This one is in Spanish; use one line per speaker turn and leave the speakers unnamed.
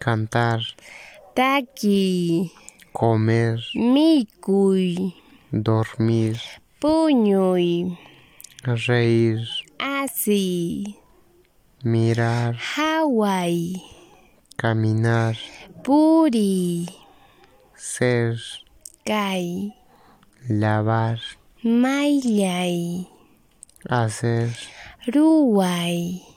cantar,
Taki,
comer,
Mikuy,
dormir,
Puñuy,
reír,
Asi,
mirar,
Hawaii,
caminar,
Puri,
ser,
Kai,
lavar,
Mailai,
hacer,
Ruay,